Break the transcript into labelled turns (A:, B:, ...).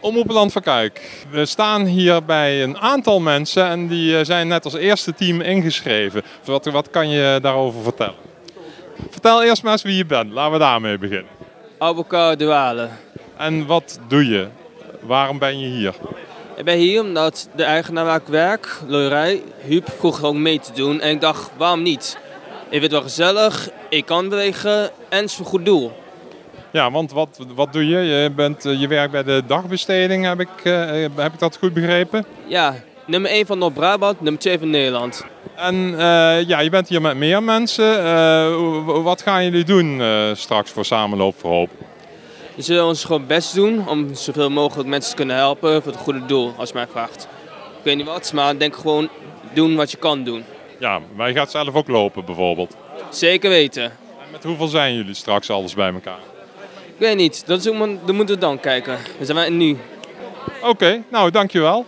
A: Omroepenland van Kuik. We staan hier bij een aantal mensen en die eh, zijn net als eerste team ingeschreven. Wat, wat kan je daarover vertellen? Vertel eerst maar eens wie je bent. Laten we daarmee beginnen.
B: Abukar Douale.
A: En wat doe je? Waarom ben je hier?
B: Ik ben hier omdat de eigenaar waar ik werk, Lorij, Huub vroeg ook mee te doen. En ik dacht, waarom niet? Ik vind het wel gezellig, ik kan bewegen en het is een goed doel.
A: Ja, want wat, wat doe je? Je, bent, eh, je werkt bij de dagbesteding, heb ik, eh, heb ik dat goed begrepen?
B: Ja, nummer 1 van Noord-Brabant, nummer 2 van Nederland.
A: En eh, ja, je bent hier met meer mensen. Eh, w- wat gaan jullie doen eh, straks voor Samenloop voor Hoop?
B: We zullen ons gewoon best doen om zoveel mogelijk mensen te kunnen helpen voor het goede doel, als je mij vraagt. Ik weet niet wat, maar denk gewoon doen wat je kan doen.
A: Ja, maar je gaat zelf ook lopen bijvoorbeeld.
B: Zeker weten.
A: En met hoeveel zijn jullie straks alles bij elkaar?
B: Ik weet niet, dat, is ook, maar- dat moeten we dan kijken. We zijn wij nu.
A: Oké, nou dankjewel.